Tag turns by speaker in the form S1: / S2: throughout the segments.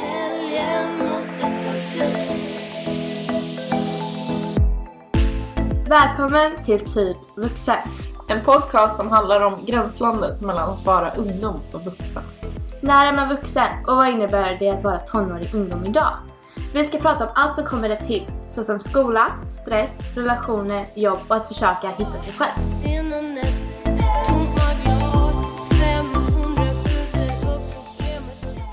S1: helgen måste ta slut
S2: Välkommen till Typ vuxen.
S3: En podcast som handlar om gränslandet mellan att vara ungdom och vuxen.
S2: När är man vuxen och vad innebär det att vara tonårig ungdom idag? Vi ska prata om allt som kommer det till, såsom skola, stress, relationer, jobb och att försöka hitta sig själv.
S1: Scenen är tomma glas 500 skjuter upp problemet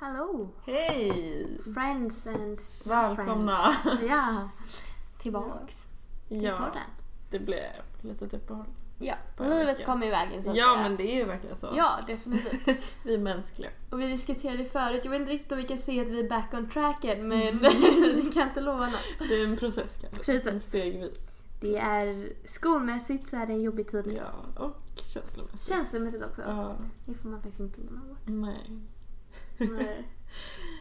S2: Hallå!
S3: Hej!
S2: Friends and...
S3: Välkomna!
S2: Ja! Tillbaks
S3: Ja, det blev lite uppehåll.
S2: Ja,
S3: Bara
S2: livet
S3: veckan.
S2: kom i vägen så att
S3: Ja,
S2: säga.
S3: men det är ju verkligen så.
S2: Ja, definitivt.
S3: Vi är mänskliga.
S2: Och vi diskuterade förut, jag vet inte riktigt om vi kan se att vi är back on tracken men vi kan inte lova något.
S3: Det är en process kanske.
S2: Precis.
S3: Stegvis.
S2: Det är skolmässigt så är det en jobbig tid nu.
S3: Ja, och känslomässigt.
S2: Känslomässigt också.
S3: Ja,
S2: Det får man faktiskt inte glömma bort.
S3: nej.
S2: Nej.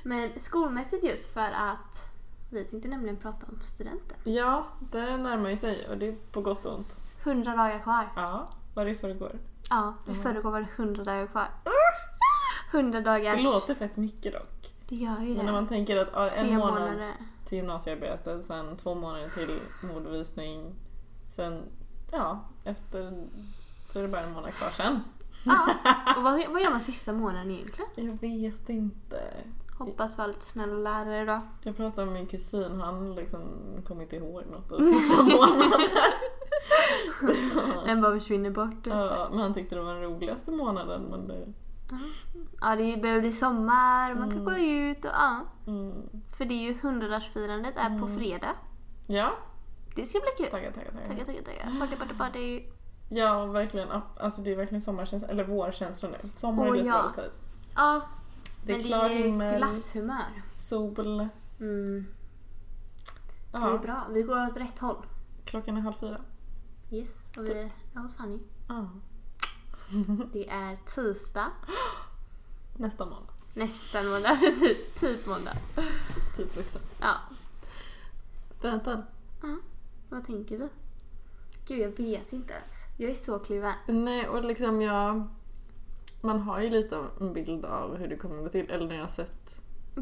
S2: Men skolmässigt just för att vi tänkte nämligen prata om studenten.
S3: Ja, det närmar ju sig och det är på gott och ont.
S2: 100 dagar kvar.
S3: Ja, var det i förrgår?
S2: Ja, i
S3: Mm.
S2: förrgår var det 100 dagar kvar. 100 dagar.
S3: Det låter fett mycket dock.
S2: Det gör ju
S3: Men när
S2: det.
S3: man tänker att ja, en
S2: Tre
S3: månad
S2: månader.
S3: till gymnasiearbete, sen två månader till modvisning. Sen, ja, efter så är det bara en månad kvar sen.
S2: Ja. Och vad, vad gör man sista månaden egentligen?
S3: Jag vet inte.
S2: Hoppas vi har lite snälla lärare då.
S3: Jag pratade med min kusin, han liksom kom inte ihåg något av sista månaden.
S2: Den bara försvinner bort. typ.
S3: Ja, men han tyckte det var den roligaste månaden. Men det,
S2: Ja, det börjar bli sommar, man kan gå ut och ja.
S3: mm.
S2: För det är ju 100-årsfirandet är på fredag.
S3: Ja,
S2: Det ska bli kul.
S3: taggar, taggar, taggar.
S2: Tagga, tagga, tagga. Party, party, party.
S3: Ja, verkligen. Alltså det är verkligen sommarkänsla, eller vårkänsla nu. Sommar är
S2: Åh,
S3: lite
S2: ja.
S3: övertid.
S2: Ja,
S3: Det är
S2: men
S3: klar
S2: det är
S3: himmel,
S2: glasshumör.
S3: sol.
S2: Mm,
S3: Ja.
S2: Det är bra. Vi går åt rätt håll.
S3: Klockan är halv fyra.
S2: Yes. Och
S3: Typ.
S2: vi är hos Fanny.
S3: Ja.
S2: Det är tisdag.
S3: Nästa månad.
S2: Nästan måndag. precis. typ måndag.
S3: Typ vuxen.
S2: Ja.
S3: Studenten.
S2: Vad tänker vi? Gud, jag vet inte. Jag är så kluven.
S3: Nej, och liksom jag... Man har ju lite av en bild av hur det kommer gå till. Eller när jag har sett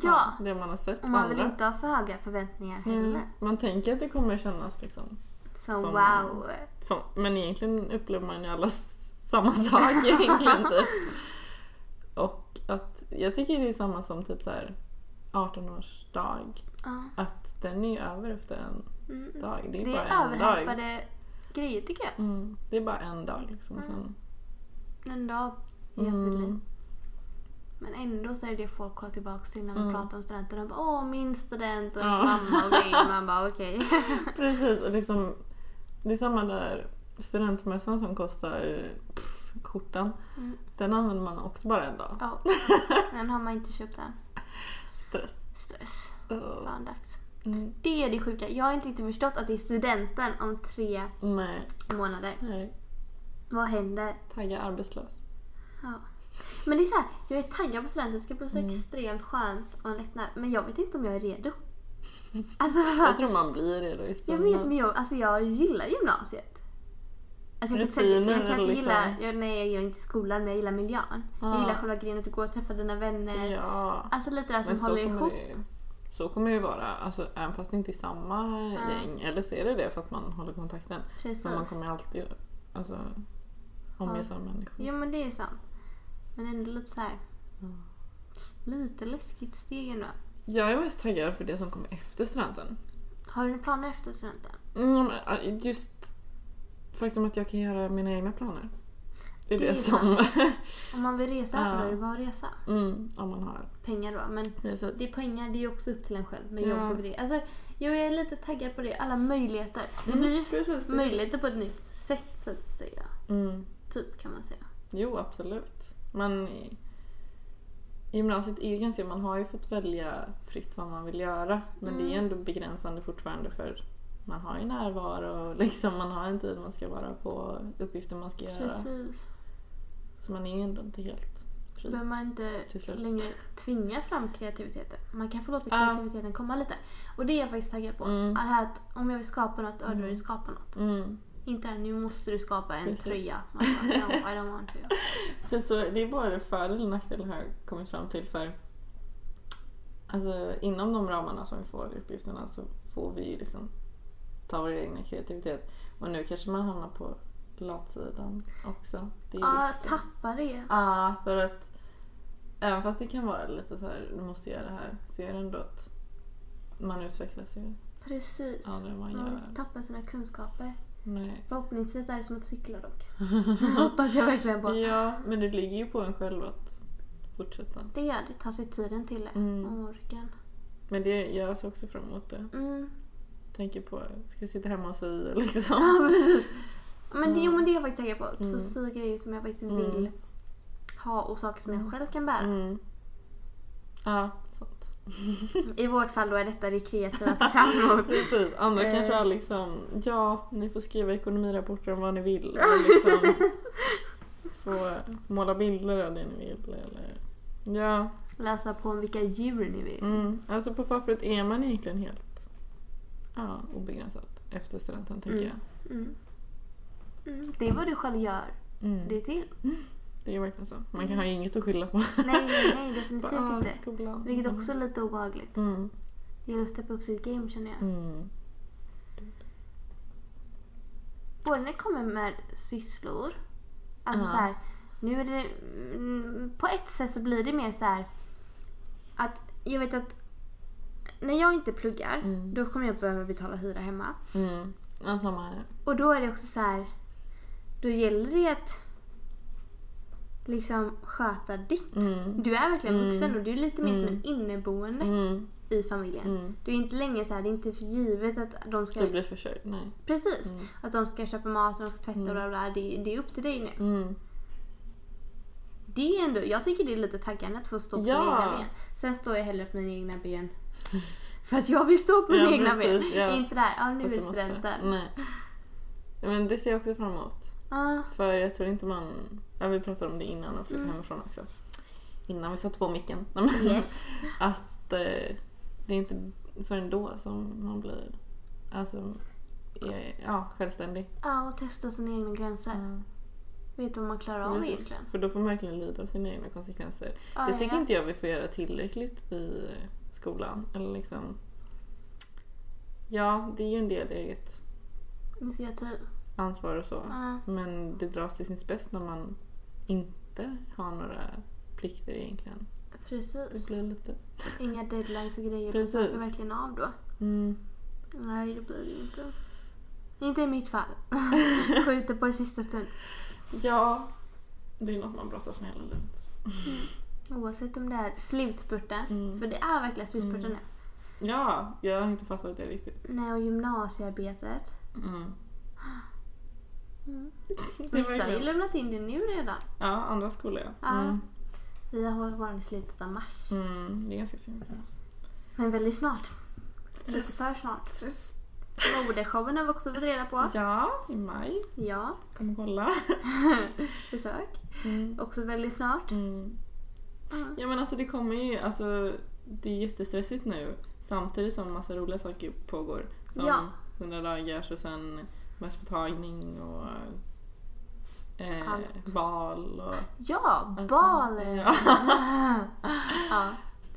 S2: Ja.
S3: det man har sett
S2: Och
S3: på
S2: man vill
S3: andra.
S2: inte ha för höga förväntningar heller.
S3: Mm, man tänker att det kommer kännas liksom...
S2: Så
S3: Som-
S2: wow.
S3: Som, men egentligen upplever man ju alla s- samma sak egentligen typ. Och att jag tycker det är samma som typ så här 18-årsdag.
S2: Ja.
S3: Att den är ju över efter en
S2: Mm.
S3: dag. Det är
S2: Det
S3: bara
S2: är
S3: en dag.
S2: överhypade grejer tycker jag.
S3: Mm, det är bara en dag liksom. och Sen,
S2: En dag i
S3: Mm.
S2: ett liv. Men ändå så är det folk kollar tillbaka till när man pratar om studenter. De bara åh min student och ens
S3: Ja.
S2: mamma och grejer. Man bara okej.
S3: Precis, och liksom, det är samma där studentmössan som kostar pff, skjortan.
S2: Mm.
S3: Den använder man också bara en dag.
S2: Ja. Den har man inte köpt än.
S3: Stress.
S2: Stress.
S3: Uh,
S2: Fan dags.
S3: mm,
S2: Det är det sjuka. Jag har inte riktigt förstått att det är studenten om tre
S3: nej,
S2: månader.
S3: nej.
S2: Vad händer?
S3: Tagga arbetslös.
S2: Ja. Men det är så här, jag är taggad på studenten. Det ska bli så extremt skönt och en lättnad. Men jag vet inte om jag är redo. Alltså,
S3: Jag tror man blir det då
S2: Jag
S3: istället.
S2: vet men jag, alltså jag gillar gymnasiet. Alltså jag kan inte säga, jag
S3: Rutiner
S2: kan
S3: och
S2: inte
S3: liksom-
S2: gilla, jag, nej jag gillar inte skolan men jag gillar miljön. Jag
S3: Ja.
S2: gillar själva grejen att du går och träffar dina vänner.
S3: Ja,
S2: Alltså lite det
S3: men
S2: som
S3: så
S2: håller
S3: kommer,
S2: ihop.
S3: det, ju- så kommer det ju vara. Alltså, även fast det inte är samma
S2: Ja.
S3: gäng. Eller så är det det för att man håller kontakten.
S2: Precis.
S3: Men man kommer alltid alltså, omge sig med människor.
S2: Jo men det är sant. Men ändå lite så här. Lite läskigt steg ändå.
S3: Jag är mest taggad för det som kommer efter studenten.
S2: Har du några planer efter studenten?
S3: Mm, men, äh, just faktum att jag kan göra mina egna planer. Det är
S2: Det
S3: det,
S2: är
S3: som...
S2: Om man vill resa,
S3: Ja.
S2: då är det bara att resa.
S3: mm, om man har. Mm,
S2: Pengar då. Men
S3: Precis.
S2: det är pengar, det är ju också upp till en själv med
S3: Ja.
S2: jobb och grejer. Alltså, jag är lite taggad på det. Alla möjligheter.
S3: Mm.
S2: Det blir ju
S3: Precis, det-
S2: möjligheter på ett nytt sätt så att säga.
S3: Mm.
S2: Typ kan man säga.
S3: Jo, absolut. Men i i gymnasiet är ju ganska... Man har ju fått välja fritt vad man vill göra. Men det är
S2: Mm.
S3: ändå begränsande fortfarande för man har ju närvaro och liksom man har en tid man ska vara på, uppgifter man ska göra.
S2: Precis.
S3: Så man är ju ändå inte helt fri.
S2: Behöver man inte
S3: Till slut.
S2: längre tvinga fram kreativiteten. Man kan få låta
S3: Ja.
S2: kreativiteten komma lite. Och det är jag faktiskt taggad på.
S3: Mm.
S2: Det här att om jag vill skapa något, ja, då vill jag skapa något.
S3: Mm.
S2: Inte här, nu måste du skapa en
S3: Precis.
S2: tröja. Man bara, no, I don't want to.
S3: Precis, så det är både fördel och nackdel har jag kommit fram till för Alltså inom de ramarna som vi får i uppgifterna så får vi ju liksom ta vår egna kreativitet. Och nu kanske man hamnar på latsidan också. Det är
S2: Ja, ah,
S3: risken.
S2: tappa det.
S3: Ja, för att även fast det kan vara lite så här, du måste göra det här, så är det ändå att man utvecklas ju
S2: Precis.
S3: aldrig vad man
S2: Man vill
S3: gör.
S2: inte tappa sina kunskaper.
S3: Nej.
S2: Förhoppningsvis är det som att cykla dock. hoppas jag ah. verkligen på.
S3: Ja, men det ligger ju på en själv att fortsätta.
S2: Det gör det. Ta sig tiden till det.
S3: Mm.
S2: Och orken.
S3: Men det jag ser också fram emot det.
S2: Mm.
S3: Tänker på, ska jag sitta hemma och sy liksom.
S2: Ja, precis. Men det, jo, men det är jag faktiskt tänker på. Två sy grejer som jag faktiskt vill
S3: Mm.
S2: ha och saker som jag själv kan bära.
S3: Mm. Ja, sant.
S2: I vårt fall då är detta det kreativa fram emot.
S3: Precis, andra
S2: Eh.
S3: kanske har liksom, ja, ni får skriva ekonomirapporter om vad ni vill. Eller liksom, få måla bilder av det ni vill. Eller, ja,
S2: Läsa på om vilka djur ni vill.
S3: mm. alltså på pappret är man egentligen helt ja, obegränsad efter studenten tänker
S2: Mm. Mm. Mm. Det är vad du själv gör
S3: jag. Mm.
S2: det
S3: Det...
S2: till.
S3: är verkligen så. Man kan ha inget att skylla på.
S2: Nej, nej, nej definitivt
S3: Bara, Mm. ah,
S2: inte.
S3: skolan.
S2: Vilket också är lite obehagligt.
S3: Mm.
S2: Det gäller att steppa upp sitt game känner jag.
S3: Mm.
S2: Både när det kommer med sysslor, alltså
S3: Ja.
S2: så här, nu är det, mm, på ett sätt så blir det mer så här att jag vet att när jag inte pluggar
S3: Mm.
S2: då kommer jag behöva betala hyra hemma.
S3: Mm. Ja, samma här.
S2: Och då är det också så här, då gäller det att liksom sköta ditt.
S3: Mm.
S2: Du är verkligen
S3: Mm.
S2: vuxen och du är lite mer som
S3: Mm.
S2: en inneboende
S3: Mm.
S2: i familjen.
S3: Mm.
S2: Du är inte längre så här, det är inte för givet att de ska...
S3: Du blir försörjd, nej.
S2: Precis!
S3: Mm.
S2: Att de ska köpa mat och de ska tvätta och bla bla. Det, det är upp till dig nu.
S3: Mm.
S2: Det är ändå, jag tycker det är lite taggande att få stå på sina
S3: Ja.
S2: egna ben. Sen står jag hellre på mina egna ben. För att jag vill stå på
S3: Ja,
S2: mina egna
S3: precis,
S2: ben.
S3: ja.
S2: Inte där, ja nu
S3: Att
S2: är
S3: du
S2: du
S3: måste- Mm.
S2: studenten.
S3: Nej. Men det ser jag också fram emot.
S2: Ah,
S3: För jag tror inte man... Ja, vi pratade om det innan och flyttade hemifrån också. Innan vi satte på micken. Nej, men
S2: Mm. yes.
S3: Att eh, det är inte förrän då som man blir alltså, är, ja, självständig. Mm.
S2: Ja, och testa sina egna gränser. Vet vad man klarar av
S3: Precis.
S2: egentligen.
S3: För då får man verkligen lida av sina egna konsekvenser.
S2: Ja,
S3: det tycker
S2: ja.
S3: inte jag vi får göra tillräckligt i eh, skolan. Eller liksom... Ja, det är ju en del eget
S2: Initiativ.
S3: ansvar och så.
S2: Ja.
S3: Men det dras till sin spets när man inte har några plikter egentligen. Det
S2: Precis.
S3: blir lite...
S2: Inga deadlines och grejer.
S3: Precis.
S2: Man klarar verkligen av då.
S3: Mm.
S2: Nej, det blir det ju inte. Inte i mitt fall. Skjuter på det sista stund.
S3: Ja, det är något man brottas med hela livet.
S2: Oavsett om det är slutspurten.
S3: Mm.
S2: För det är verkligen slutspurten nu.
S3: Ja, jag har inte fattat det riktigt.
S2: Nej, och gymnasiearbetet.
S3: Mm. Det var ju
S2: Vissa har ju
S3: kul.
S2: lämnat in det nu redan.
S3: Ja, andra skolor ja.
S2: Ja.
S3: Mm.
S2: Vi har vår i slutet av mars.
S3: Mm, det är ganska sent.
S2: Men väldigt snart. Lite
S3: Stress.
S2: för snart.
S3: Stress.
S2: Modeshowen har vi också fått reda på.
S3: Mm. Ja, i maj.
S2: Ja,
S3: Kommer kolla.
S2: försök.
S3: Mm.
S2: Också väldigt snart.
S3: Mm.
S2: Mm.
S3: Ja men alltså det kommer ju, alltså det är jättestressigt nu samtidigt som massa roliga saker pågår. Som
S2: Ja.
S3: 100 dagars och sen mösspåtagning och eh,
S2: Allt.
S3: bal och...
S2: Ja,
S3: Alltså,
S2: balen!
S3: ja.
S2: ja.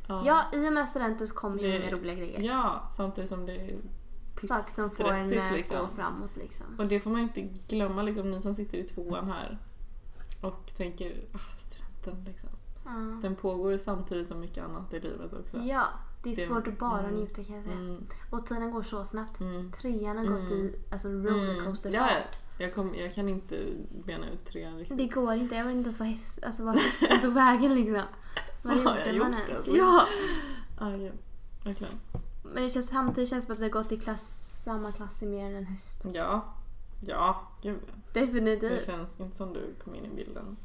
S2: ja, i och med studenten så kommer ju
S3: Det-
S2: många roliga grejer.
S3: Ja, samtidigt som det är
S2: Saker som får en
S3: pissstressigt
S2: eh,
S3: liksom.
S2: gå framåt liksom.
S3: Och det får man inte glömma liksom, ni som sitter i tvåan här och tänker ah, studenten liksom.
S2: Ja.
S3: Den pågår samtidigt som mycket annat i livet också.
S2: Ja, det är
S3: Det-
S2: svårt att bara
S3: mm.
S2: njuta kan jag säga.
S3: Mm,
S2: Och tiden går så snabbt.
S3: mm.
S2: Trean har gått
S3: Mm.
S2: i alltså,
S3: Mm.
S2: rollercoaster
S3: Ja, ja. jag, kom, jag kan inte bena ut trean riktigt.
S2: Det går inte. Jag vet inte ens vad häst, alltså, vad hästen tog vägen liksom. Vad
S3: Vad har
S2: gjorde
S3: jag
S2: man
S3: gjort,
S2: ens?
S3: alltså?
S2: Ja.
S3: Ah, ja. Verkligen.
S2: Men det känns, samtidigt känns det som att vi har gått i klass, samma klass i mer än en höst.
S3: Ja. Ja, gud ja. Det
S2: Definitivt.
S3: känns inte som du kom in i bilden.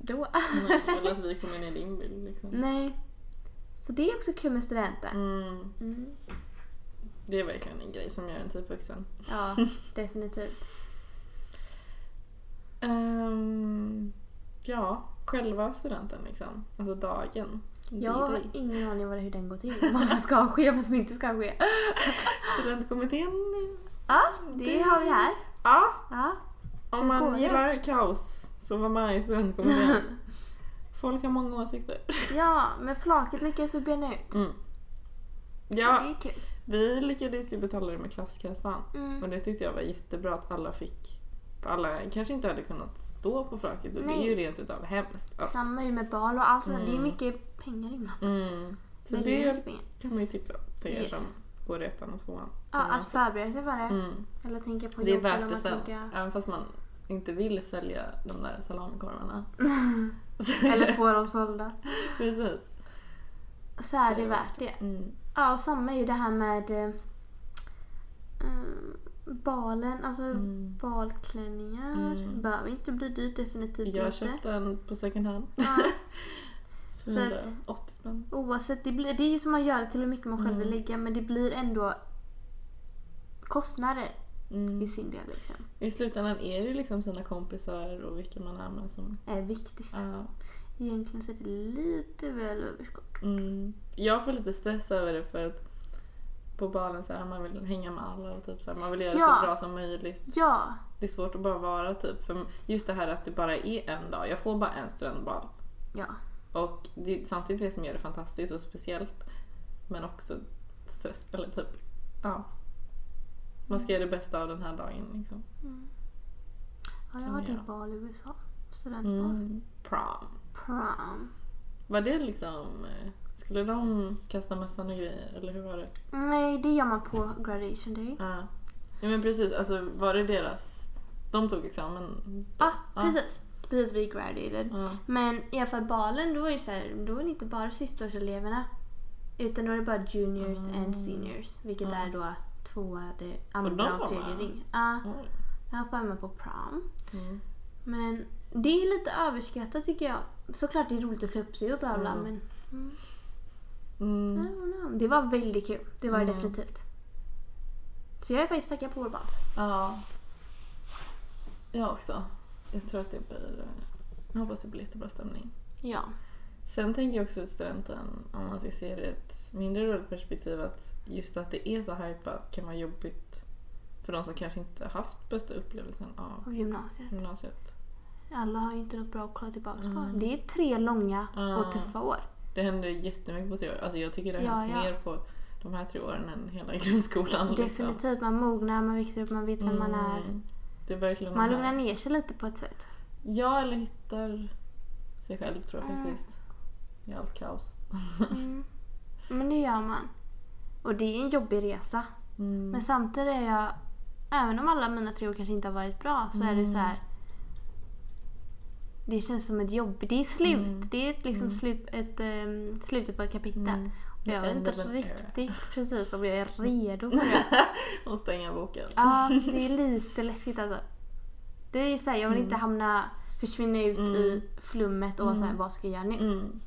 S2: Då.
S3: Nej, Eller att vi kom in i din bild liksom.
S2: Nej. Så det är också kul med studenten.
S3: Mm,
S2: Mm.
S3: det är verkligen en grej som gör en typ vuxen.
S2: Ja, definitivt.
S3: Ehm, ja, själva studenten liksom. Alltså dagen.
S2: Jag
S3: Det
S2: har
S3: är dig.
S2: ingen aning vad det- hur den går till. Vad som ska ske vad som inte ska ske.
S3: Studentkommittén.
S2: Ja, det har vi här.
S3: Ja,
S2: Ja.
S3: om man
S2: Hur går det?
S3: gillar kaos så var med i studentkommittén. Folk har många åsikter.
S2: ja, men flaket lyckades vi bena ut.
S3: Mm.
S2: Så det
S3: Ja,
S2: är kul.
S3: vi lyckades ju betala det med klasskassan.
S2: Mm.
S3: Och det tyckte jag var jättebra att alla fick. För alla kanske inte hade kunnat stå på flaket och det är
S2: Nej.
S3: ju rent utav hemskt. Ja.
S2: Samma ju med bal och allt sånt. där. Det är
S3: Mm.
S2: mycket pengar inblandat.
S3: Mm. Så
S2: Väldigt
S3: det
S2: mycket pengar.
S3: kan man ju tipsa om till er
S2: Yes.
S3: som går i ettan och tvåan.
S2: Ja,
S3: Mm.
S2: att förbereda sig för det.
S3: Mm.
S2: Eller tänka på
S3: Det är
S2: jobb
S3: värt
S2: eller
S3: det
S2: man
S3: sen.
S2: tänker-
S3: Även fast man inte vill sälja de där salamikorvarna.
S2: Eller få dem sålda.
S3: Precis.
S2: Så är
S3: Så
S2: det
S3: är det
S2: värt det.
S3: Mm.
S2: Ja, och samma är ju det här med eh, mm, balen, alltså
S3: Mm.
S2: balklänningar.
S3: Mm.
S2: Behöver inte bli dyrt, definitivt
S3: Jag
S2: inte.
S3: köpte en på second hand.
S2: Ja,
S3: för
S2: Så att-
S3: 180 spänn.
S2: oavsett, det, blir, det är ju som man gör det till hur mycket man själv vill
S3: Mm.
S2: lägga men det blir ändå kostnader i
S3: Mm.
S2: sin del liksom.
S3: I slutändan är det ju liksom sina kompisar och vilka man är med som...
S2: Är viktigt.
S3: Ja.
S2: Egentligen så är det lite väl överskott.
S3: Mm. Jag får lite stress över det för att på balen så här, man vill hänga med alla och typ så här, man vill göra
S2: Ja.
S3: så bra som möjligt.
S2: Ja,
S3: Det är svårt att bara vara typ. För just det här att det bara är en dag. Jag får bara en studentbal.
S2: ja.
S3: Och det är samtidigt det som gör det fantastiskt och speciellt. Men också stress, eller typ, ja. Man ska göra det bästa av den här dagen liksom.
S2: Mm. ja jag
S3: Kan
S2: har
S3: man
S2: varit i
S3: göra.
S2: bal i USA. Studentbal.
S3: Mm. Prom.
S2: Prom.
S3: Var det liksom, eh, skulle de kasta mössan och grejer eller hur var det?
S2: Nej, det gör man på graduation day.
S3: Ja. ja men precis, alltså var det deras, de tog examen? då?
S2: Ja, precis. Precis, vi graduated.
S3: Ja.
S2: Men i alla fall balen, då var, ju så här, då var det inte bara sistaårseleverna. Utan då var det bara juniors and seniors. Vilket
S3: Mm. Ja.
S2: är då tvåade,
S3: de
S2: andra
S3: vara
S2: och tredje
S3: med?
S2: ring. Ja,
S3: Ja.
S2: jag hoppade med på prom.
S3: Mm.
S2: Men det är lite överskattat tycker jag. Såklart det är roligt att klä upp sig och bla bla
S3: Mm.
S2: men I
S3: Mm.
S2: don't know. det var väldigt kul. Det var det
S3: Mm.
S2: definitivt. Så jag är faktiskt taggad på vår bal.
S3: Ja. Jag också. Jag tror att det blir, eh, jag hoppas det blir jättebra stämning.
S2: Ja.
S3: Sen tänker jag också att studenten, om man ska se det ur ett mindre roligt perspektiv, att just att det är så hypat kan vara jobbigt för de som kanske inte haft bästa upplevelsen av
S2: Av gymnasiet.
S3: gymnasiet.
S2: Alla har ju inte något bra att kolla tillbaka på.
S3: Mm.
S2: Det är tre långa
S3: Ja.
S2: och tuffa år.
S3: Det händer jättemycket på tre år. Alltså jag tycker det har
S2: Ja,
S3: hänt
S2: ja.
S3: mer på de här tre åren än hela grundskolan. liksom.
S2: Definitivt, man mognar, man växer upp, man vet vem man är.
S3: Mm. Det är verkligen
S2: Man
S3: de
S2: lugnar
S3: här-
S2: ner sig lite på ett sätt.
S3: Ja, eller hittar sig själv tror jag
S2: Mm.
S3: faktiskt. I allt kaos.
S2: Men det gör man. Och det är en jobbig resa.
S3: Mm.
S2: Men samtidigt är jag, även om alla mina tre år kanske inte har varit bra, så
S3: Mm.
S2: är det så här. Det känns som ett jobb. Det är slut.
S3: Mm.
S2: Det är ett, liksom slut, ett, ehm, slutet på ett kapitel.
S3: Mm.
S2: Och jag
S3: The
S2: vet
S3: end
S2: inte
S3: of an era.
S2: riktigt precis om jag är redo för det.
S3: Och stänga boken.
S2: Ja, det är lite läskigt alltså. Det är så här, jag vill inte hamna, försvinna ut
S3: Mm.
S2: i flummet och
S3: Mm.
S2: så här, vad ska jag göra nu?
S3: Mm.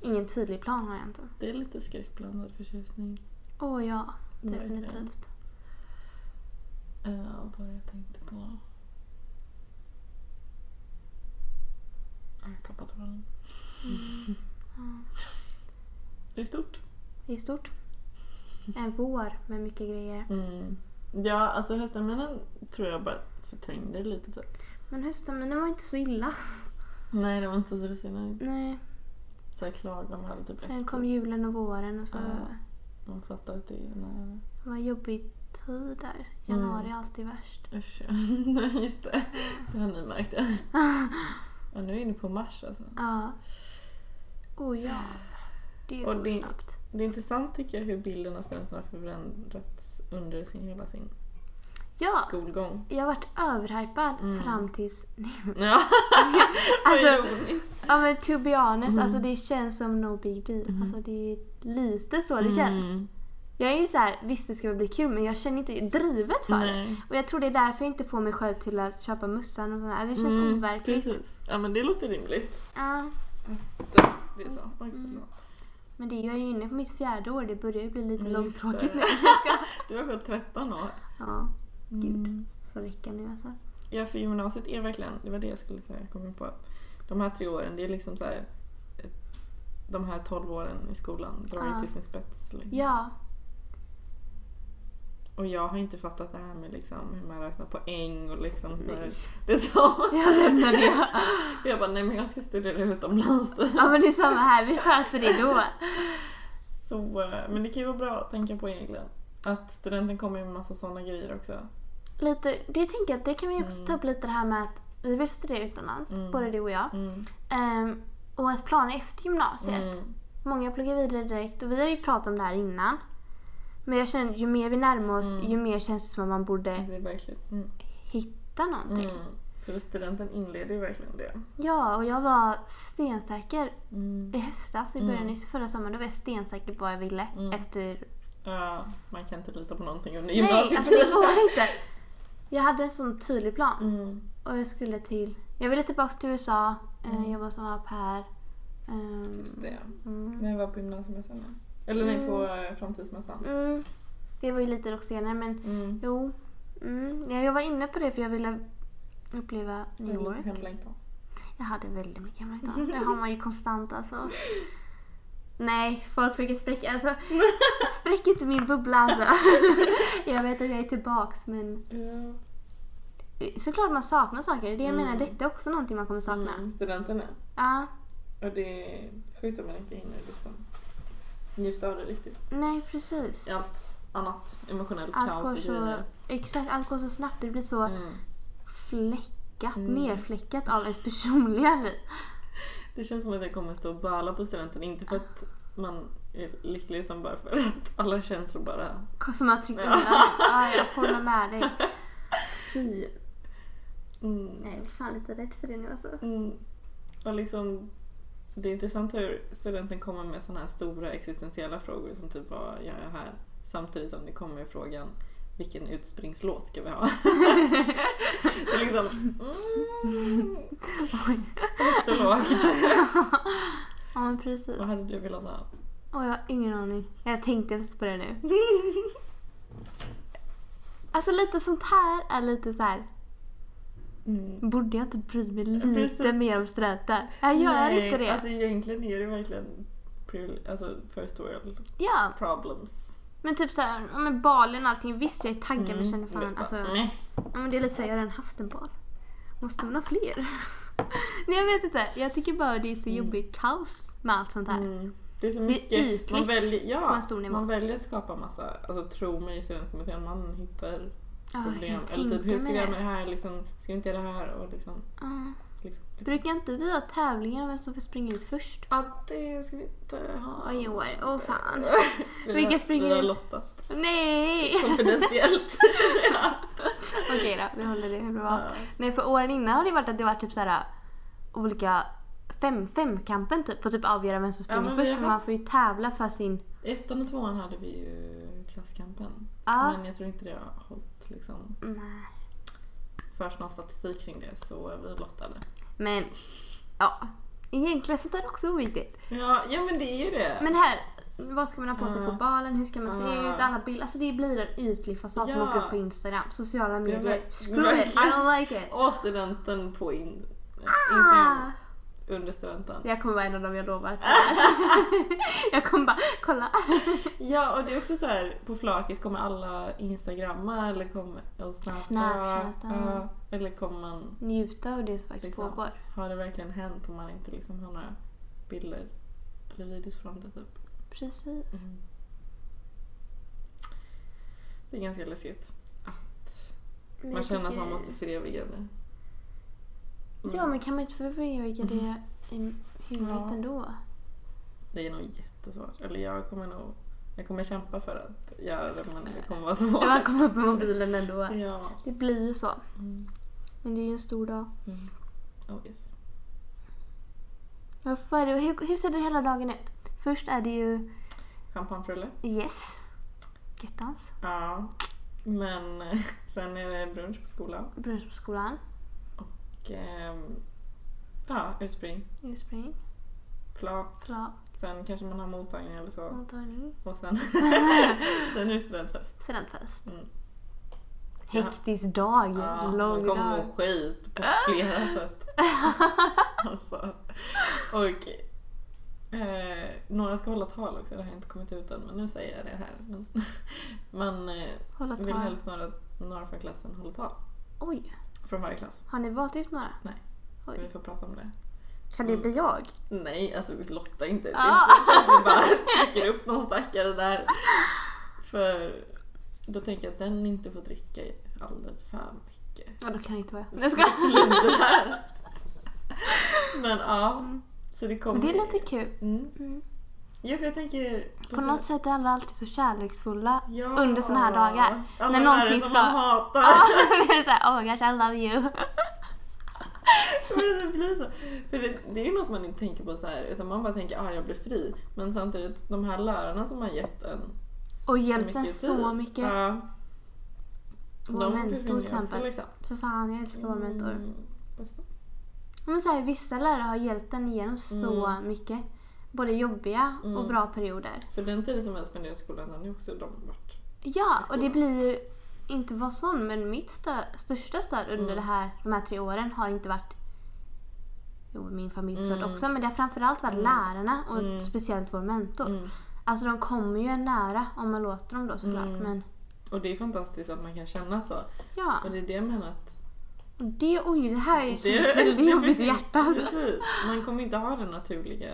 S2: Ingen tydlig plan har jag inte.
S3: Det är lite skräckblandad förtjusning.
S2: Åh ja,
S3: Mm, verkligen.
S2: definitivt.
S3: Uh, vad jag tänkte på. Ja, Jag tappade tråden.
S2: Mm.
S3: Det är stort.
S2: Det är stort. En vår med mycket grejer.
S3: Mm. Ja, alltså höstterminen tror jag bara förträngde det lite typ.
S2: Men höstterminen var inte så illa.
S3: Nej, det var inte så stressigt. Nej.
S2: Nej,
S3: Så jag klagade om jag hade typ
S2: sen
S3: rätt
S2: kom julen och våren och så
S3: Ja. Man fattar att det är nära.
S2: det var en jobbig tid där.
S3: Mm.
S2: Januari är alltid värst.
S3: Usch, Nej, just det. Det har ni märkt. Ja, nu är vi inne på mars alltså.
S2: Ja. Oh ja. Det
S3: Och
S2: går
S3: det-
S2: snabbt.
S3: Det är intressant tycker jag hur bilden av studenterna har förändrats under sin, hela sin
S2: Ja,
S3: skolgång.
S2: jag varit överhypad
S3: Mm.
S2: fram tills nu.
S3: Ja,
S2: Alltså,
S3: vad ironiskt.
S2: Ja men to be honest,
S3: Mm.
S2: alltså det känns som no big deal. Alltså det är lite så det känns.
S3: Mm.
S2: Jag är ju så här, visst det ska väl bli kul men jag känner inte drivet för det.
S3: Nej.
S2: Och jag tror det är därför jag inte får mig själv till att köpa mössan och sådär. Det känns
S3: Mm,
S2: overkligt.
S3: Precis. Ja men det låter rimligt.
S2: Ja.
S3: Det, det är så. Oj,
S2: Mm.
S3: förlåt.
S2: Men det, jag är ju inne på mitt fjärde år, det börjar ju bli lite
S3: Men just
S2: långtråkigt
S3: det.
S2: nu.
S3: Du har gått 13 år.
S2: Ja, Gud.
S3: Mm.
S2: får räcka nu alltså.
S3: Ja för gymnasiet är verkligen, det var det jag skulle säga, jag kom in på. De här tre åren, det är liksom så här ett- de här 12 åren i skolan drar
S2: Ja.
S3: ju till sin spets. liksom.
S2: Ja,
S3: Och jag har inte fattat det här med liksom hur man räknar poäng och liksom
S2: Nej.
S3: hur det är så.
S2: jag lämnar det.
S3: För jag bara, nej men jag ska studera utomlands.
S2: Ja men det är samma här, vi sköter det då.
S3: Så, eh, men det kan ju vara bra att tänka på egentligen. Att studenten kommer med en massa sådana grejer också.
S2: Lite, det jag tänker att det kan vi ju också ta upp lite det här med att vi vill studera utomlands,
S3: Mm.
S2: både du och jag.
S3: Mm.
S2: Ehm, och att plana efter gymnasiet.
S3: Mm.
S2: Många pluggar vidare direkt och vi har ju pratat om det här innan. Men jag känner ju mer vi närmar oss, ju mer känns det som att man borde
S3: Det är verkligen... Mm.
S2: hitta någonting.
S3: Mm. För studenten inleder ju verkligen det.
S2: Ja, och jag var stensäker
S3: Mm. Mm.
S2: i höstas, i början mm. förra sommaren, då var jag stensäker på vad jag ville efter
S3: Ja, man kan inte lita på någonting under
S2: Nej,
S3: gymnasiet.
S2: alltså det går inte. Jag hade en sån tydlig plan.
S3: Mm.
S2: Och jag skulle till... Jag ville tillbaka till USA, eh, jobba som au pair. Ehm,
S3: Just det.
S2: Mm.
S3: När jag var på gymnasiemässan. ja. Eller nej, på eh, framtidsmässan.
S2: Mm, det var ju lite dock senare men
S3: Mm.
S2: jo. Mm, ja, jag var inne på det för jag ville uppleva New
S3: Lite
S2: York.
S3: hemlängtan.
S2: Jag hade väldigt mycket hemlängtan. Det har man ju konstant alltså. Nej, folk försöker spräcka... Alltså, spräck inte min bubbla alltså. Jag vet att jag är tillbaks men
S3: Ja.
S2: såklart man saknar saker. Det är det jag menar, detta är också någonting man kommer sakna.
S3: Mm, studenten är.
S2: Ja,
S3: Och det är sjukt om man inte hinner liksom njuta av det riktigt.
S2: nej precis.
S3: I allt annat emotionellt
S2: Allt
S3: kaos
S2: går
S3: och
S2: så,
S3: grejer.
S2: exakt, allt går så snabbt. Det blir så
S3: Mm.
S2: fläckat, nerfläckat av ens personliga liv.
S3: Det känns som att jag kommer stå och böla på studenten. Inte för att man är lycklig utan bara för att alla känslor bara...
S2: Som har tryckt undan. Ja, jag håller med dig. Fy.
S3: Mm.
S2: Jag är fan lite rädd för det nu alltså.
S3: Mm. Och liksom, det är intressant hur studenten kommer med sådana här stora existentiella frågor som typ vad gör jag här? Samtidigt som det kommer i frågan vilken utspringslåt ska vi ha? det är liksom... Mm, högt och lågt.
S2: Ja men precis.
S3: Vad hade du velat ha?
S2: Och jag har ingen aning. Jag tänkte precis på det nu. Alltså lite sånt här är lite så här. Borde jag inte bry mig lite
S3: Precis.
S2: mer om studenter? Mm. Jag gör
S3: Nej,
S2: inte det.
S3: Alltså egentligen är det verkligen privil- alltså first world
S2: ja,
S3: problems.
S2: men typ såhär, ja, men balen och allting. Visst jag är taggad
S3: Mm.
S2: men känner fan
S3: Det-
S2: alltså.
S3: Nej.
S2: Ja, men det är lite såhär, jag har redan haft en bal. Måste man ha fler? Nej jag vet inte. Jag tycker bara det är så jobbigt kaos med allt sånt här.
S3: Mm. Det är så
S2: är
S3: mycket.
S2: ytligt
S3: man väljer, ja,
S2: på en stor nivå.
S3: Man väljer att skapa massa, alltså tro mig i studentkommittén, man hittar
S2: Ja, Ah, jag
S3: problem.
S2: kan
S3: Eller typ
S2: tänka
S3: hur ska
S2: mig
S3: vi göra
S2: det.
S3: med det här, liksom, ska vi inte göra det här och liksom.
S2: Ja.
S3: liksom, liksom.
S2: Brukar inte vi ha tävlingar om vem som får springa ut först?
S3: Ja, det ska vi inte ha.
S2: Oj, oj, åh fan.
S3: Vi
S2: Vilka
S3: har,
S2: springer
S3: Vi har
S2: ut?
S3: lottat
S2: Nej!
S3: konfidentiellt.
S2: Okej då, vi håller det hur det var.
S3: Ja.
S2: Nej, för åren innan har det varit att det varit typ såhär olika fem fem kampen typ, får typ avgöra vem som
S3: Ja,
S2: springer
S3: men vi
S2: först.
S3: har
S2: för Man
S3: haft-
S2: får ju tävla för sin...
S3: I ettan och tvåan hade vi ju klasskampen.
S2: Ja.
S3: Men jag tror inte det har hållit liksom.
S2: Nej.
S3: Förs någon statistik kring det så vi lottade.
S2: Men, mm, ja. Egentligen sånt där är också oviktigt.
S3: Ja, ja men det är ju det.
S2: Men det här, vad ska man ha på sig
S3: Ja.
S2: på balen? Hur ska man se
S3: Ja.
S2: ut? Alla bilder. Alltså det blir en ytlig fasad som
S3: Ja.
S2: åker upp på Instagram. Sociala medier.
S3: ver-
S2: Screw it, I don't Ah! like it.
S3: Och studenten på in, Instagram. Under studenten.
S2: Jag kommer vara en av dem, jag lovar. jag kommer bara, kolla.
S3: Ja, och det är också så här på flaket kommer alla instagramma eller kommer och snappa,
S2: Snapchatta.
S3: Ja, eller kommer man
S2: Njuta av det som faktiskt
S3: liksom,
S2: pågår.
S3: har det verkligen hänt om man inte liksom har några bilder eller videos från det typ.
S2: Precis.
S3: Det är ganska läskigt att
S2: Men
S3: man
S2: jag
S3: känner att
S2: tycker-
S3: man måste föreviga det.
S2: Ja, men kan man inte förvirra det i huvudet
S3: Mm. Ja.
S2: ändå?
S3: Det är nog jättesvårt. Eller jag kommer nog jag kommer kämpa för att göra det men det kommer vara
S2: När man
S3: svårt.
S2: kommer upp med mobilen ändå.
S3: Ja.
S2: Det blir ju så.
S3: Mm.
S2: Men det är ju en stor dag.
S3: Oh, yes.
S2: Varför är det? Hur, hur ser den hela dagen ut? Först är det ju
S3: Champagnefrulle.
S2: yes. Göttans.
S3: Ja. Men eh, sen är det brunch på skolan.
S2: Brunch på skolan.
S3: Och, ehm, ja, utspring.
S2: Urspring.
S3: Plan.
S2: Bra.
S3: Sen kanske man har mottagning eller så.
S2: Mottagning.
S3: Och sen, sen är det studentfest.
S2: Studentfest.
S3: Mm.
S2: Hektisk dag.
S3: Ja, man
S2: Lång
S3: kommer
S2: dag.
S3: må skit på flera sätt. Alltså. Och eh, några ska hålla tal också. Det här har inte kommit ut än men nu säger jag det här. Men, man eh,
S2: Hålla
S3: vill
S2: tal.
S3: helst några, några från klassen hålla tal.
S2: Oj,
S3: Från varje klass.
S2: har ni valt ut några?
S3: Nej. Vi
S2: Oj.
S3: får prata om det.
S2: Kan det bli jag?
S3: Nej, alltså vi lottar inte. Det är
S2: Ah.
S3: inte så att vi bara dyker upp någon stackare där. För då tänker jag att den inte får dricka alldeles för mycket.
S2: Ja, då kan det inte vara jag.
S3: Sluddar här. Men ja, så det
S2: Men
S3: kommer...
S2: det är lite kul.
S3: Mm.
S2: Mm.
S3: Ja, för jag tänker...
S2: På något sätt blir alla alltid så kärleksfulla
S3: Ja.
S2: under såna här dagar.
S3: Ja,
S2: när
S3: men vad är det
S2: någonting
S3: som
S2: ska...
S3: man hatar?
S2: det är såhär, oh my gosh I love you.
S3: Men det blir så. För det, det är ju något man inte tänker på så här, utan man bara tänker ah, jag blir fri. Men samtidigt, de här lärarna som har gett en
S2: Och
S3: så
S2: hjälpt en så
S3: tid,
S2: mycket.
S3: Ja,
S2: Vår
S3: de
S2: mentor
S3: försvinner
S2: till
S3: ju också
S2: exempel.
S3: liksom.
S2: För fan, jag älskar vår mentor.
S3: Mm, bästa.
S2: Men så här, vissa lärare har hjälpt en igenom så mycket. Både jobbiga och
S3: Mm.
S2: bra perioder.
S3: För den tiden som jag spenderade i skolan, den är också de varit.
S2: Ja, och det
S3: skolan.
S2: blir ju inte vad sån, men mitt stö- största stöd under det här, de här tre åren har inte varit jo, min familjs stöd också, men det har framförallt varit lärarna och speciellt vår mentor.
S3: Mm.
S2: Alltså de kommer ju en nära om man låter dem då såklart,
S3: Mm.
S2: men
S3: Och det är fantastiskt att man kan känna så.
S2: ja.
S3: Och det är det jag menar att...
S2: Och det, oj, det här är
S3: Det-
S2: det, väldigt jobbigt i hjärtat.
S3: Precis. Man kommer inte ha den naturliga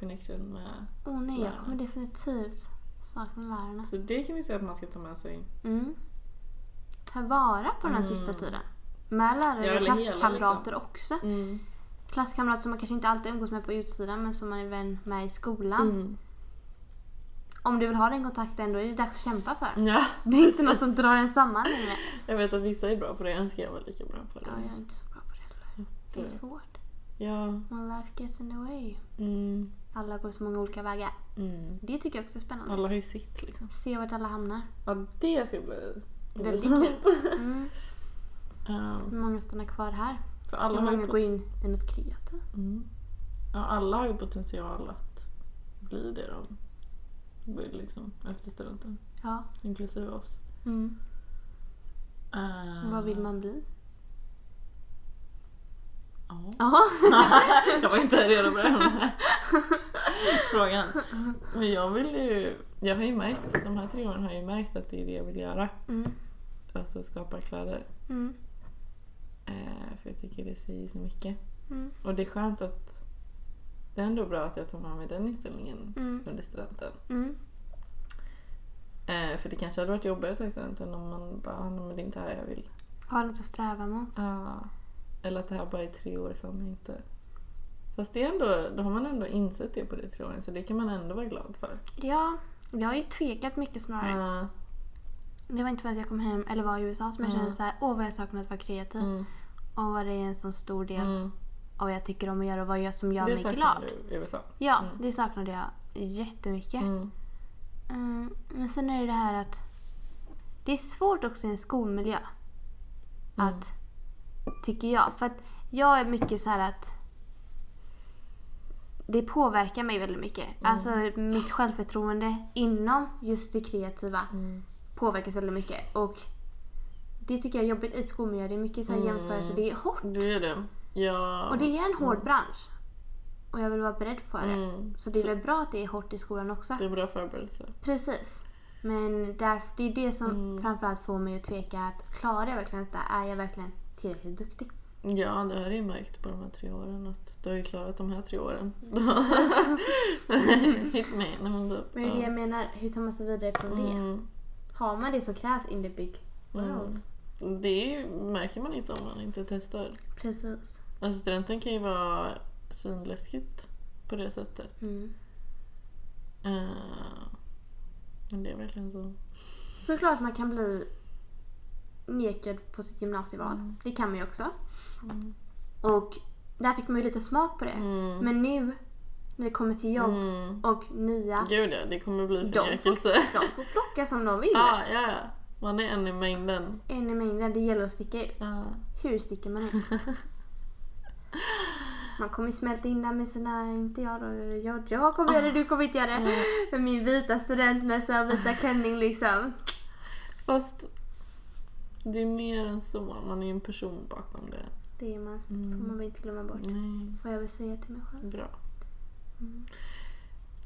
S3: connection med...
S2: Åh oh, nej, jag
S3: Lärarna.
S2: kommer definitivt sakna lärarna.
S3: Så det kan vi säga att man ska ta med sig.
S2: Mm. Ta vara på den här sista tiden. Med
S3: Mm. Ja,
S2: lärare och
S3: eller hela,
S2: klasskamrater också.
S3: Mm.
S2: klasskamrat som man kanske inte alltid umgås med på utsidan men som man är vän med i skolan.
S3: Mm.
S2: Om du vill ha den kontakten då är det dags att kämpa för.
S3: Ja,
S2: Det är inte något som drar en samman längre.
S3: jag vet att vissa är bra på det. Jag önskar jag var lika bra på det.
S2: Ja, jag är inte så bra på det heller. Det
S3: Mm.
S2: är svårt.
S3: Ja.
S2: My life gets in the way.
S3: Mm.
S2: Alla går så många olika vägar.
S3: Mm.
S2: Det tycker jag också är spännande.
S3: Alla har ju sitt liksom.
S2: Se vart alla hamnar.
S3: Ja, det ska bli
S2: Väldigt kul. Mm.
S3: Ja,
S2: Hur många stannar kvar här?
S3: för
S2: Hur
S3: alla har,
S2: många
S3: ju
S2: går
S3: pot-
S2: in i något kreativt?
S3: mm. ja, alla har ju potential att bli det de vill liksom, efter studenten.
S2: Ja.
S3: Inklusive oss.
S2: Mm.
S3: Eh,
S2: Vad vill man bli?
S3: Ja.
S2: Ja.
S3: jag var inte redo på den här frågan. Men jag vill ju... Jag har ju märkt, de här tre åren har jag ju märkt att det är det jag vill göra.
S2: Mm.
S3: Alltså skapa kläder.
S2: Mm.
S3: Eh, för jag tycker det säger så mycket.
S2: Mm.
S3: Och det är skönt att... Det är ändå bra att jag tar med mig den inställningen
S2: Mm.
S3: under studenten.
S2: Mm.
S3: Eh, för det kanske hade varit jobbigare att ta studenten om man bara, "Ah, nej, men det är inte här jag vill.
S2: Har något att sträva mot.
S3: Ja. Eller att det här bara är tre år som jag inte... Fast det är ändå, då har man ändå insett det på de tre åren så det kan man ändå vara glad för. Ah.
S2: Ja, jag har ju tvekat mycket snarare.
S3: Ja.
S2: Det var inte för att jag kom hem eller var i USA som jag
S3: Mm.
S2: kände så här, åh vad jag saknat att vara kreativ.
S3: Mm.
S2: Och vad det är en så stor del
S3: Mm.
S2: av vad jag tycker om att göra och vad jag som gör
S3: Det
S2: mig
S3: saknar
S2: glad.
S3: du i USA.
S2: Ja,
S3: Mm.
S2: det saknade jag jättemycket.
S3: Mm.
S2: Mm, men sen är det det här att det är svårt också i en skolmiljö. Att, tycker jag. För att jag är mycket så här att det påverkar mig väldigt mycket. Alltså mitt självförtroende inom just det kreativa påverkas väldigt mycket. Och det tycker jag är jobbigt i skolmiljö. Det är mycket så här jämförelser. Det är hårt.
S3: Det är det. Ja.
S2: Och det är en hård bransch. Och jag vill vara beredd på det.
S3: Mm.
S2: Så det är väl bra att det är hårt i skolan också.
S3: det är en bra förberedelse.
S2: Precis. Men där, det är det som
S3: Mm.
S2: framförallt får mig att tveka. att Klarar jag verkligen detta? Är jag verkligen tillräckligt duktig?
S3: Ja, det har jag ju märkt på de här tre åren att du har ju klarat de här tre åren. Hit me. Nej, men typ.
S2: Men det är det jag menar. Hur tar man sig vidare från det?
S3: Mm.
S2: Har man det som krävs in the big world?
S3: Mm. Det är ju, märker man inte om man inte testar.
S2: Precis.
S3: Alltså studenten kan ju vara svinläskigt på det sättet.
S2: Mm.
S3: Eh, men det är verkligen så.
S2: Såklart man kan bli nekad på sitt gymnasieval.
S3: Mm.
S2: Det kan man ju också. Mm. Och där fick man ju lite smak på det.
S3: Mm.
S2: Men nu när det kommer till jobb
S3: Mm.
S2: och nya,
S3: Gud ja, det kommer bli
S2: de får,
S3: förnekelse.
S2: de får plocka som de vill.
S3: Ja, ja, ja. Man är en i mängden.
S2: En i mängden, det gäller att sticka ut.
S3: Ja.
S2: Hur sticker man ut? Man kommer ju smälta in där med sina, inte jag då, jag, jag kommer göra det, du kommer inte göra
S3: Eh,
S2: det. Med min vita studentmössa och vita klänning liksom.
S3: Fast det är mer än så. Man är ju en person bakom det.
S2: Det är man,
S3: Mm.
S2: får man väl inte glömma bort.
S3: Nej,
S2: Får jag väl säga till mig själv.
S3: bra.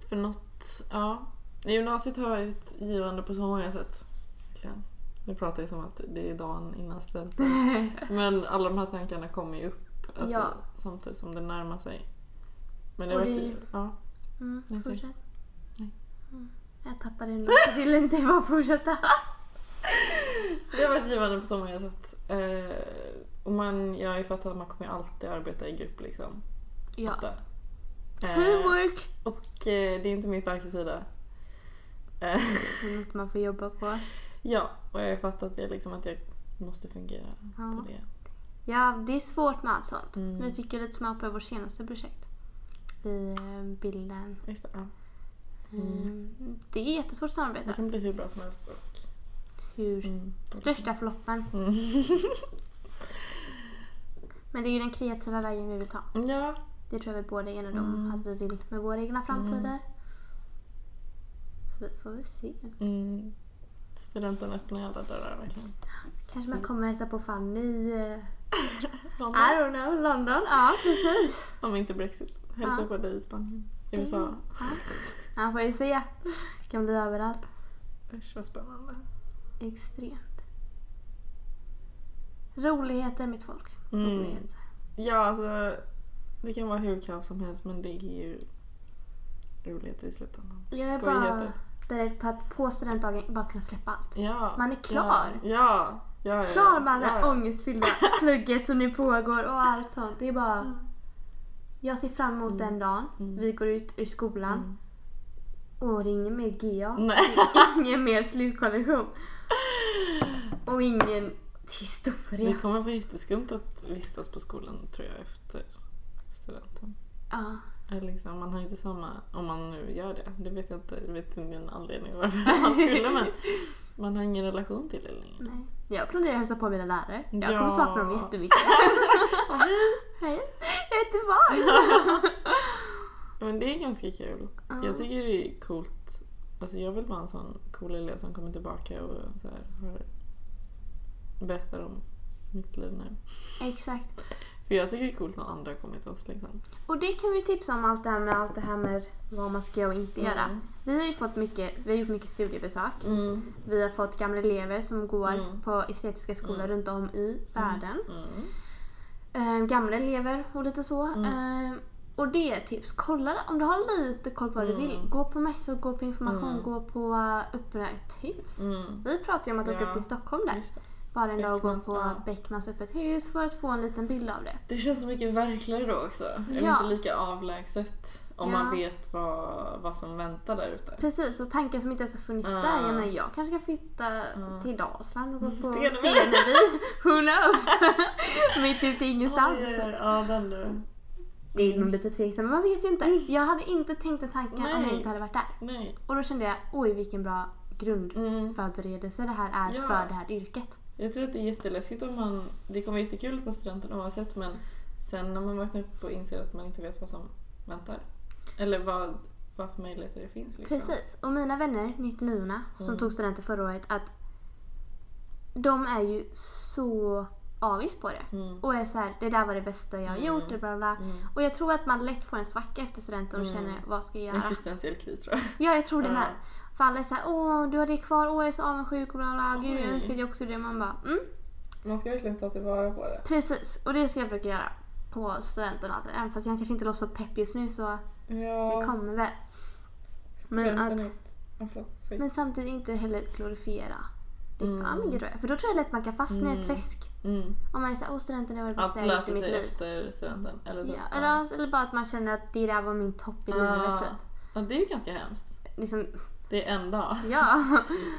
S3: För något, ja. Gymnasiet har varit givande på så många sätt. Verkligen. Nu pratar jag som att det är dagen innan studenten. Men alla de här tankarna kommer ju upp alltså,
S2: Ja.
S3: samtidigt som det närmar sig. Men det har
S2: Och
S3: varit...
S2: det är ju-
S3: Ja.
S2: Mm,
S3: Okej.
S2: fortsätt. Mm. Jag tappade den. Jag vill inte bara fortsätta.
S3: Det har varit givande på så många sätt. Eh, och man, jag har ju fattat att man kommer ju alltid arbeta i grupp liksom.
S2: Ja.
S3: Ofta. Eh,
S2: Teamwork!
S3: och eh, det är inte min starka sida. Eh,
S2: Det är något man får jobba på.
S3: ja, och jag har ju fattat det liksom att jag måste fungera
S2: Ja.
S3: på det.
S2: ja, det är svårt med allt sånt.
S3: Mm.
S2: Typ. Vi fick ju lite smak på vårt senaste projekt. I eh, bilden.
S3: Just det, ja.
S2: Mm. Det är jättesvårt att
S3: det
S2: samarbeta.
S3: kan bli hur bra som helst. Och,
S2: Hur?
S3: mm,
S2: Största floppen.
S3: Mm.
S2: Men det är ju den kreativa vägen vi vill ta.
S3: Mm. ja,
S2: Det tror jag vi båda är eniga om
S3: Mm.
S2: att vi vill med våra egna framtider. Så vi får vi se.
S3: mm, studenten öppnar alla dörrar verkligen.
S2: Kanske
S3: Mm.
S2: man kommer hälsa på Fanny i eh, I
S3: London.
S2: don't know, London. Ja, precis.
S3: Om inte Brexit. Hälsa
S2: Ja.
S3: på dig i Spanien. USA.
S2: Ja, får vi se. Kan bli överallt.
S3: Usch vad spännande.
S2: Extremt. Roligheter mitt folk.
S3: Mm.
S2: Roligheter.
S3: Ja, alltså det kan vara hur kaos som helst men det är ju roligheter i slutändan.
S2: Jag är bara
S3: Skojigheter.
S2: beredd på att på studentdagen bara kunna släppa allt.
S3: Ja.
S2: Man är klar.
S3: Ja, ja. ja, ja
S2: Klar med alla
S3: ja, ja.
S2: ångestfyllda plugget som nu pågår och allt sånt. Det är bara... Jag ser fram emot den dagen
S3: Mm.
S2: vi går ut ur skolan
S3: Mm.
S2: och det är ingen mer GA,
S3: Nej.
S2: ingen mer slutkollektion och ingen historia.
S3: Det kommer vara jätteskumt att vistas på skolan tror jag efter studenten.
S2: Ja.
S3: Eller liksom, man har ju inte samma, om man nu gör det, det vet jag inte, jag vet ingen anledning varför man skulle men man har ingen relation till det längre.
S2: Nej. Jag planerar att hälsa på mina lärare. Jag kommer
S3: Ja.
S2: sakna dem jättemycket. Hej. Jag är tillbaka.
S3: Men det är ganska kul. Jag tycker det är coolt. Alltså jag vill vara en sån cool elev som kommer tillbaka och så här, har, berättar om mitt liv nu.
S2: Exakt.
S3: För jag tycker det är coolt när andra kommer till oss. Liksom.
S2: Och det kan vi tipsa om allt det här med, allt det här med vad man ska göra och inte göra.
S3: Mm.
S2: Vi har ju fått mycket, vi har gjort mycket studiebesök. Vi har fått gamla elever som går
S3: Mm.
S2: på estetiska skolor runt om i världen.
S3: Mm.
S2: Ehm, gamla elever och lite så.
S3: Mm.
S2: Ehm, och det är ett tips. Kolla om du har lite koll på vad du vill.
S3: Mm.
S2: Gå på mässor, gå på information,
S3: Mm.
S2: gå på eh, öppna ett hus.
S3: Mm.
S2: Vi pratade ju om att åka
S3: Ja.
S2: upp till Stockholm där.
S3: Just det.
S2: Bara en dag och gå
S3: Beckmans,
S2: på
S3: ja.
S2: Beckmans öppet hus för att få en liten bild av det.
S3: Det känns så mycket verkligare då också. Eller
S2: Ja.
S3: inte lika avlägset om
S2: Ja.
S3: man vet vad, vad som väntar där ute.
S2: Precis, och tankar som inte ens har funnits
S3: Ja.
S2: där. Jag menar, jag kanske ska flytta
S3: Ja.
S2: till Dalsland och gå på
S3: Stenevi.
S2: Stenevi. Who knows? Mitt ute i ingenstans.
S3: Oj, oj, oj. Ja, den du.
S2: Det är nog lite tveksamt, men man vet ju inte. Jag hade inte tänkt den tanken om jag
S3: Mm. Nej.
S2: inte hade varit där.
S3: Nej.
S2: Och då kände jag, oj vilken bra
S3: Mm.
S2: grundförberedelse det här är
S3: Ja.
S2: för det här yrket.
S3: Jag tror att det är jätteläskigt om man... Det kommer vara jättekul att ta studenten oavsett men sen när man vaknar upp och inser att man inte vet vad som väntar. Eller vad, vad för möjligheter det finns. Liksom.
S2: Precis. Och mina vänner, 99 som
S3: Mm.
S2: tog studenten förra året, att de är ju så avis på det.
S3: Mm.
S2: Och är så här, det där var det bästa jag har gjort, bla bla. bla.
S3: Mm.
S2: Och jag tror att man lätt får en svacka efter studenten och känner, vad ska jag göra?
S3: Existentiell kris tror jag.
S2: Ja, jag tror det
S3: Mm. Ja.
S2: med. För alla är såhär, åh du har det kvar, åh jag är så avundsjuk och bla bla. Gud jag
S3: Oj.
S2: önskar att jag också det. Man bara, mm,
S3: Man ska verkligen ta tillvara på det.
S2: precis. Och det ska jag försöka göra på studenten och allt det där. Även fast jag kanske inte låter så pepp just nu så
S3: Ja.
S2: det kommer väl. Men
S3: studenten
S2: att...
S3: är ett- ja, förlåt. Sorry.
S2: Men samtidigt inte heller glorifiera det
S3: Mm.
S2: fan mycket röd. För då tror jag lätt man kan fastna i ett
S3: Mm.
S2: träsk.
S3: Mm.
S2: Om man är såhär, åh studenten det var det bästa
S3: Allt
S2: jag gjort i
S3: löser
S2: mitt
S3: sig
S2: liv.
S3: efter studenten. Eller,
S2: Ja, eller, eller bara att man känner att det där var min topp i livet
S3: ja.
S2: typ.
S3: ja, det är ju ganska hemskt.
S2: Liksom,
S3: Det är en dag.
S2: ja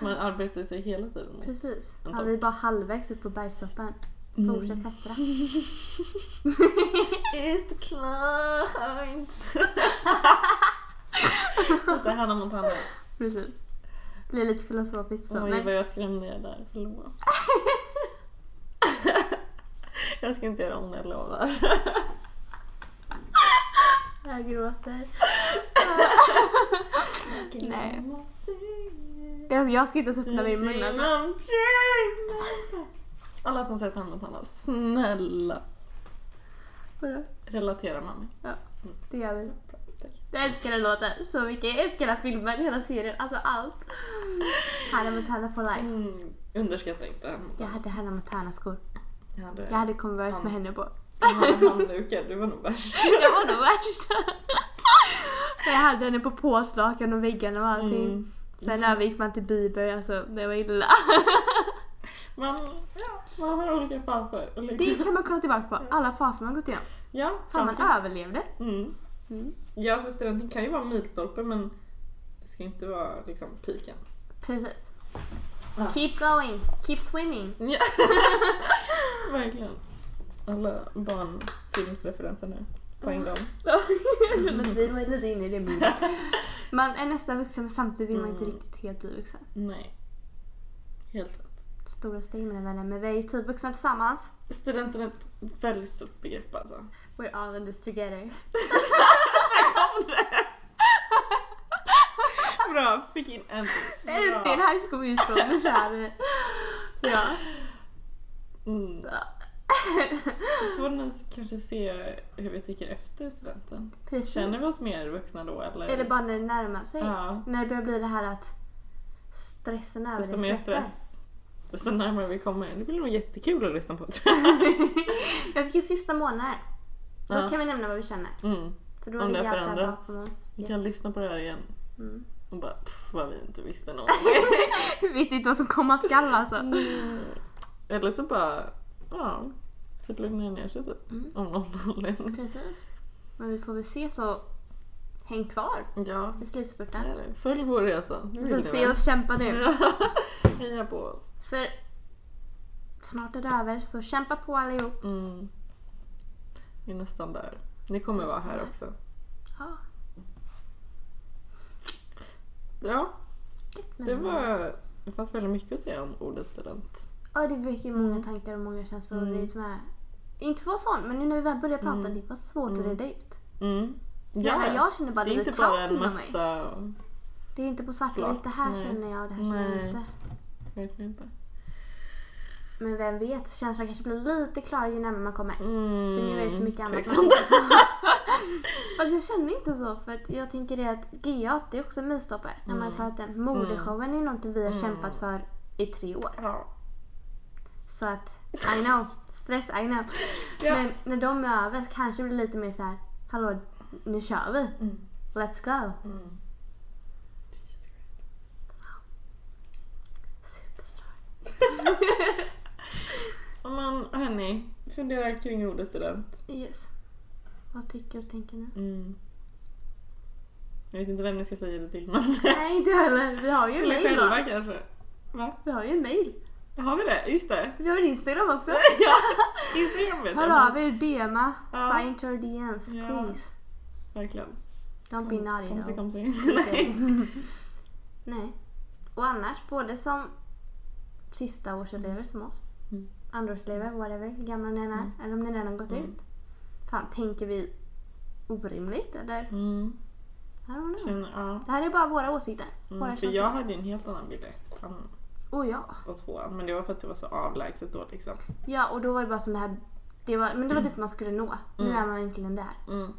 S3: Man arbetar sig hela tiden mot.
S2: precis. Ja,
S3: En topp. Mm.
S2: vi är bara halvvägs upp på bergstoppen. Fortsätt klättra.
S3: It's the climb! det är Hanna Montana.
S2: Precis. Blir lite filosofiskt så.
S3: Oj,
S2: men,
S3: vad jag skrämde er där. Förlåt. jag ska inte göra om det, jag lovar.
S2: jag gråter. Nej. Jag, jag ska inte sätta mig i munnen.
S3: Alla som sett Hanna Montana, snälla
S2: Vadå?
S3: relatera med mig.
S2: Det gör vi.
S3: Bra, tack.
S2: Jag älskar den låten så mycket. Jag älskar den här filmen, hela serien, alltså allt. Hanna Montana for life.
S3: Mm, underskatta inte Hanna
S2: Jag
S3: Montana.
S2: hade Hanna Montana-skor.
S3: Jag hade-
S2: Jag hade Converse med henne på.
S3: Den här handdukar, du var nog värst.
S2: Jag var nog värst. jag hade henne på påslakan och väggarna och allting.
S3: Mm.
S2: Sen övergick man till Bieber, alltså det var illa.
S3: Man, ja, man har olika faser. Och liksom,
S2: Det kan man kolla tillbaka på, alla faser man gått igenom.
S3: ja,
S2: Fan man
S3: framtid.
S2: överlevde.
S3: Mm.
S2: Mm.
S3: Ja, så studenten kan ju vara milstolpe men det ska inte vara liksom piken.
S2: Precis.
S3: Ja.
S2: Keep going, keep swimming.
S3: Ja. Verkligen. Alla barnfilmsreferenser nu på en gång.
S2: Men vi var ju lite inne i det minnet. Man är nästan vuxen men samtidigt vill man inte
S3: Mm.
S2: riktigt helt bli vuxen.
S3: Nej. Helt rätt.
S2: Stora steg mina vänner, men vi är ju typ vuxna tillsammans.
S3: Studenten är ett väldigt stort begrepp alltså.
S2: We're all in this together.
S3: Bra, fick in en. Bra.
S2: Äntligen high school musical, nu kör vi. Ja.
S3: Mm. Då får ni kanske se hur vi tycker efter studenten.
S2: Precis.
S3: Känner vi oss mer vuxna då eller?
S2: Eller bara när det närmar sig.
S3: Ja,
S2: När det börjar bli det här att stressen över
S3: desto
S2: dig
S3: mer
S2: släpper.
S3: stress. Desto närmare vi kommer. Det blir nog jättekul att lyssna på tror jag.
S2: Jag tycker sista månaden. Då
S3: Ja.
S2: kan vi nämna vad vi känner.
S3: Mm.
S2: För då
S3: Om
S2: har vi
S3: det har
S2: allt det här
S3: förändrats.
S2: bakom oss.
S3: Vi kan
S2: Yes.
S3: lyssna på det här igen
S2: Mm.
S3: och bara pff, vad vi inte visste något.
S2: Jag vet inte vad som komma skall alltså.
S3: Mm. Eller så bara, ja, så lugnar det ner sig typ.
S2: Mm.
S3: Om någon anledning.
S2: Precis. Men vi får väl se så häng kvar
S3: Ja,
S2: i slutspurten.
S3: det är det. Följ vår resa.
S2: Vi
S3: Vill
S2: får
S3: ni
S2: se
S3: väl?
S2: oss kämpa nu.
S3: Heja på oss.
S2: För snart är det över så kämpa på allihop.
S3: Mm. Vi är nästan där. Ni kommer vara här också.
S2: Ja,
S3: Ja,
S2: gött med
S3: det var... Det fanns väldigt mycket att säga om ordet student.
S2: Ja, det väcker många tankar och många känslor.
S3: Mm.
S2: Det är med. Inte för att vara sån, men nu när vi väl började prata,
S3: Mm.
S2: det var svårt
S3: Mm.
S2: att reda ut.
S3: Mm.
S2: Ja, jag känner bara
S3: det är
S2: lite
S3: inte bara
S2: kaos
S3: en
S2: inom mig.
S3: massa...
S2: Det är inte på svart och
S3: flak.
S2: vitt. Det här
S3: Nej.
S2: känner jag och det här känner jag
S3: Nej.
S2: inte.
S3: Verkligen inte.
S2: Men vem vet, känslan kanske blir lite klarare ju närmare man kommer.
S3: Mm.
S2: För nu är det så mycket annat.
S3: Tveksamt.
S2: Fast jag känner inte så för att jag tänker det att GA det är också en milstolpe när man har
S3: Mm.
S2: klarat den. Modeshowen är någonting vi har kämpat för i tre år.
S3: Ja.
S2: Så att I know, stress I know.
S3: Ja.
S2: Men när de är över så kanske det blir lite mer så här, hallå nu kör vi.
S3: Mm.
S2: Let's go.
S3: Mm. Jesus Christ.
S2: Superstar.
S3: Ja, Men hörni, fundera kring ordet student.
S2: Yes. Vad tycker och tänker ni?
S3: Mm. Jag vet inte vem ni ska säga det till men...
S2: Nej inte jag heller, vi har ju en
S3: Till er
S2: mail då.
S3: själva kanske. Va?
S2: Vi har ju en mail.
S3: Har vi det? Just det.
S2: Vi har en Instagram också.
S3: ja, Instagram vet
S2: Hör av er, DMa,
S3: Ja.
S2: find your DMs
S3: Ja.
S2: please.
S3: Verkligen.
S2: Don't be naughty
S3: Komsi,
S2: though.
S3: komsi.
S2: Nej. Och annars, både som sista årselever som oss,
S3: Mm.
S2: andraårselever, whatever, hur gamla ni än är, eller om ni redan har gått
S3: Mm.
S2: ut. Fan, tänker vi orimligt eller? I
S3: Mm.
S2: don't know.
S3: Känner, ja.
S2: Det här är bara våra åsikter. Våra
S3: Mm, för
S2: känslor.
S3: jag hade ju en helt annan bild i ettan
S2: Oh ja.
S3: och tvåan men det var för att det var så avlägset då liksom.
S2: Ja, och då var det bara som det här, det var, men det var dit man skulle nå. Nu är man egentligen där.
S3: Mm.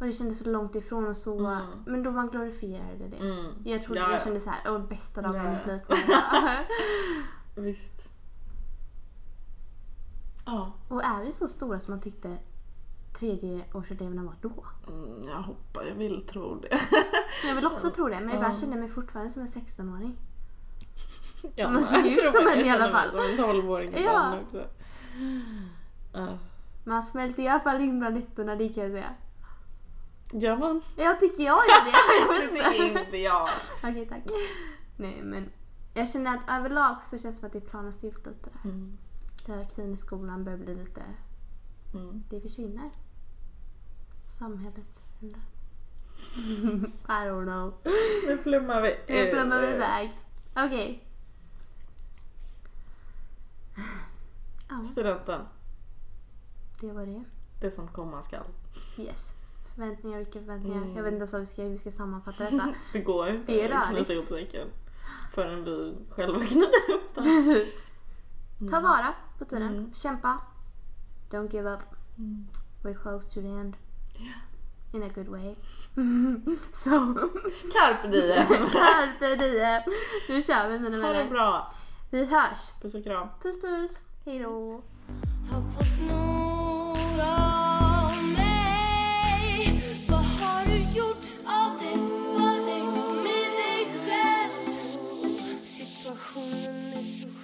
S2: Och det kändes så långt ifrån och så,
S3: Mm.
S2: men då man glorifierade det.
S3: Mm.
S2: Jag trodde
S3: Ja,
S2: jag
S3: ja.
S2: kände så här, åh bästa dagen
S3: Ja,
S2: i mitt
S3: ja.
S2: liv kommer idag."
S3: Visst. Ja.
S2: Och är vi så stora som man tyckte tredjeårseleverna var då?
S3: Mm, jag hoppas, jag vill tro det.
S2: Jag vill också tro det, men ibland
S3: Ja.
S2: känner jag mig fortfarande som en 16-åring.
S3: Ja,
S2: Man ser
S3: jag
S2: ut
S3: tror
S2: som
S3: mig-
S2: en
S3: jag
S2: i alla
S3: känner
S2: fall.
S3: mig Som en tolvåring
S2: Ja.
S3: ibland också. Ja.
S2: Man smälter i alla fall in bland ettorna, det kan jag säga.
S3: Gör man?
S2: Jag tycker jag gör det. Jag vet
S3: Det
S2: inte.
S3: är inte jag.
S2: Okej, tack. Nej, men jag känner att överlag så känns det som att det planas ut lite. där.
S3: Mm.
S2: Hierarkin i skolan börjar bli lite...
S3: Mm.
S2: Det försvinner. Samhället ändras. I don't know.
S3: Nu flummar vi.
S2: Nu flummar vi
S3: ur.
S2: iväg. Okej. Ja,
S3: Studenten,
S2: det var det.
S3: det som komma skall.
S2: Yes. Förväntningar, vilka förväntningar?
S3: Mm.
S2: Jag vet inte ens vad vi ska, hur vi ska sammanfatta detta.
S3: Det går inte
S2: Det är rörigt.
S3: att knyta ihop säcken förrän vi själva knyter ihop den.
S2: Ta vara på tiden.
S3: Mm.
S2: Kämpa. Don't give up.
S3: Mm.
S2: We're close to the end. In a good way. so,
S3: Carpe diem!
S2: carpe diem. Nu kör vi mina
S3: Ha det
S2: vänner.
S3: bra!
S2: Vi hörs.
S3: Puss och kram.
S2: Puss puss. Hejdå.
S1: Har fått nog av är så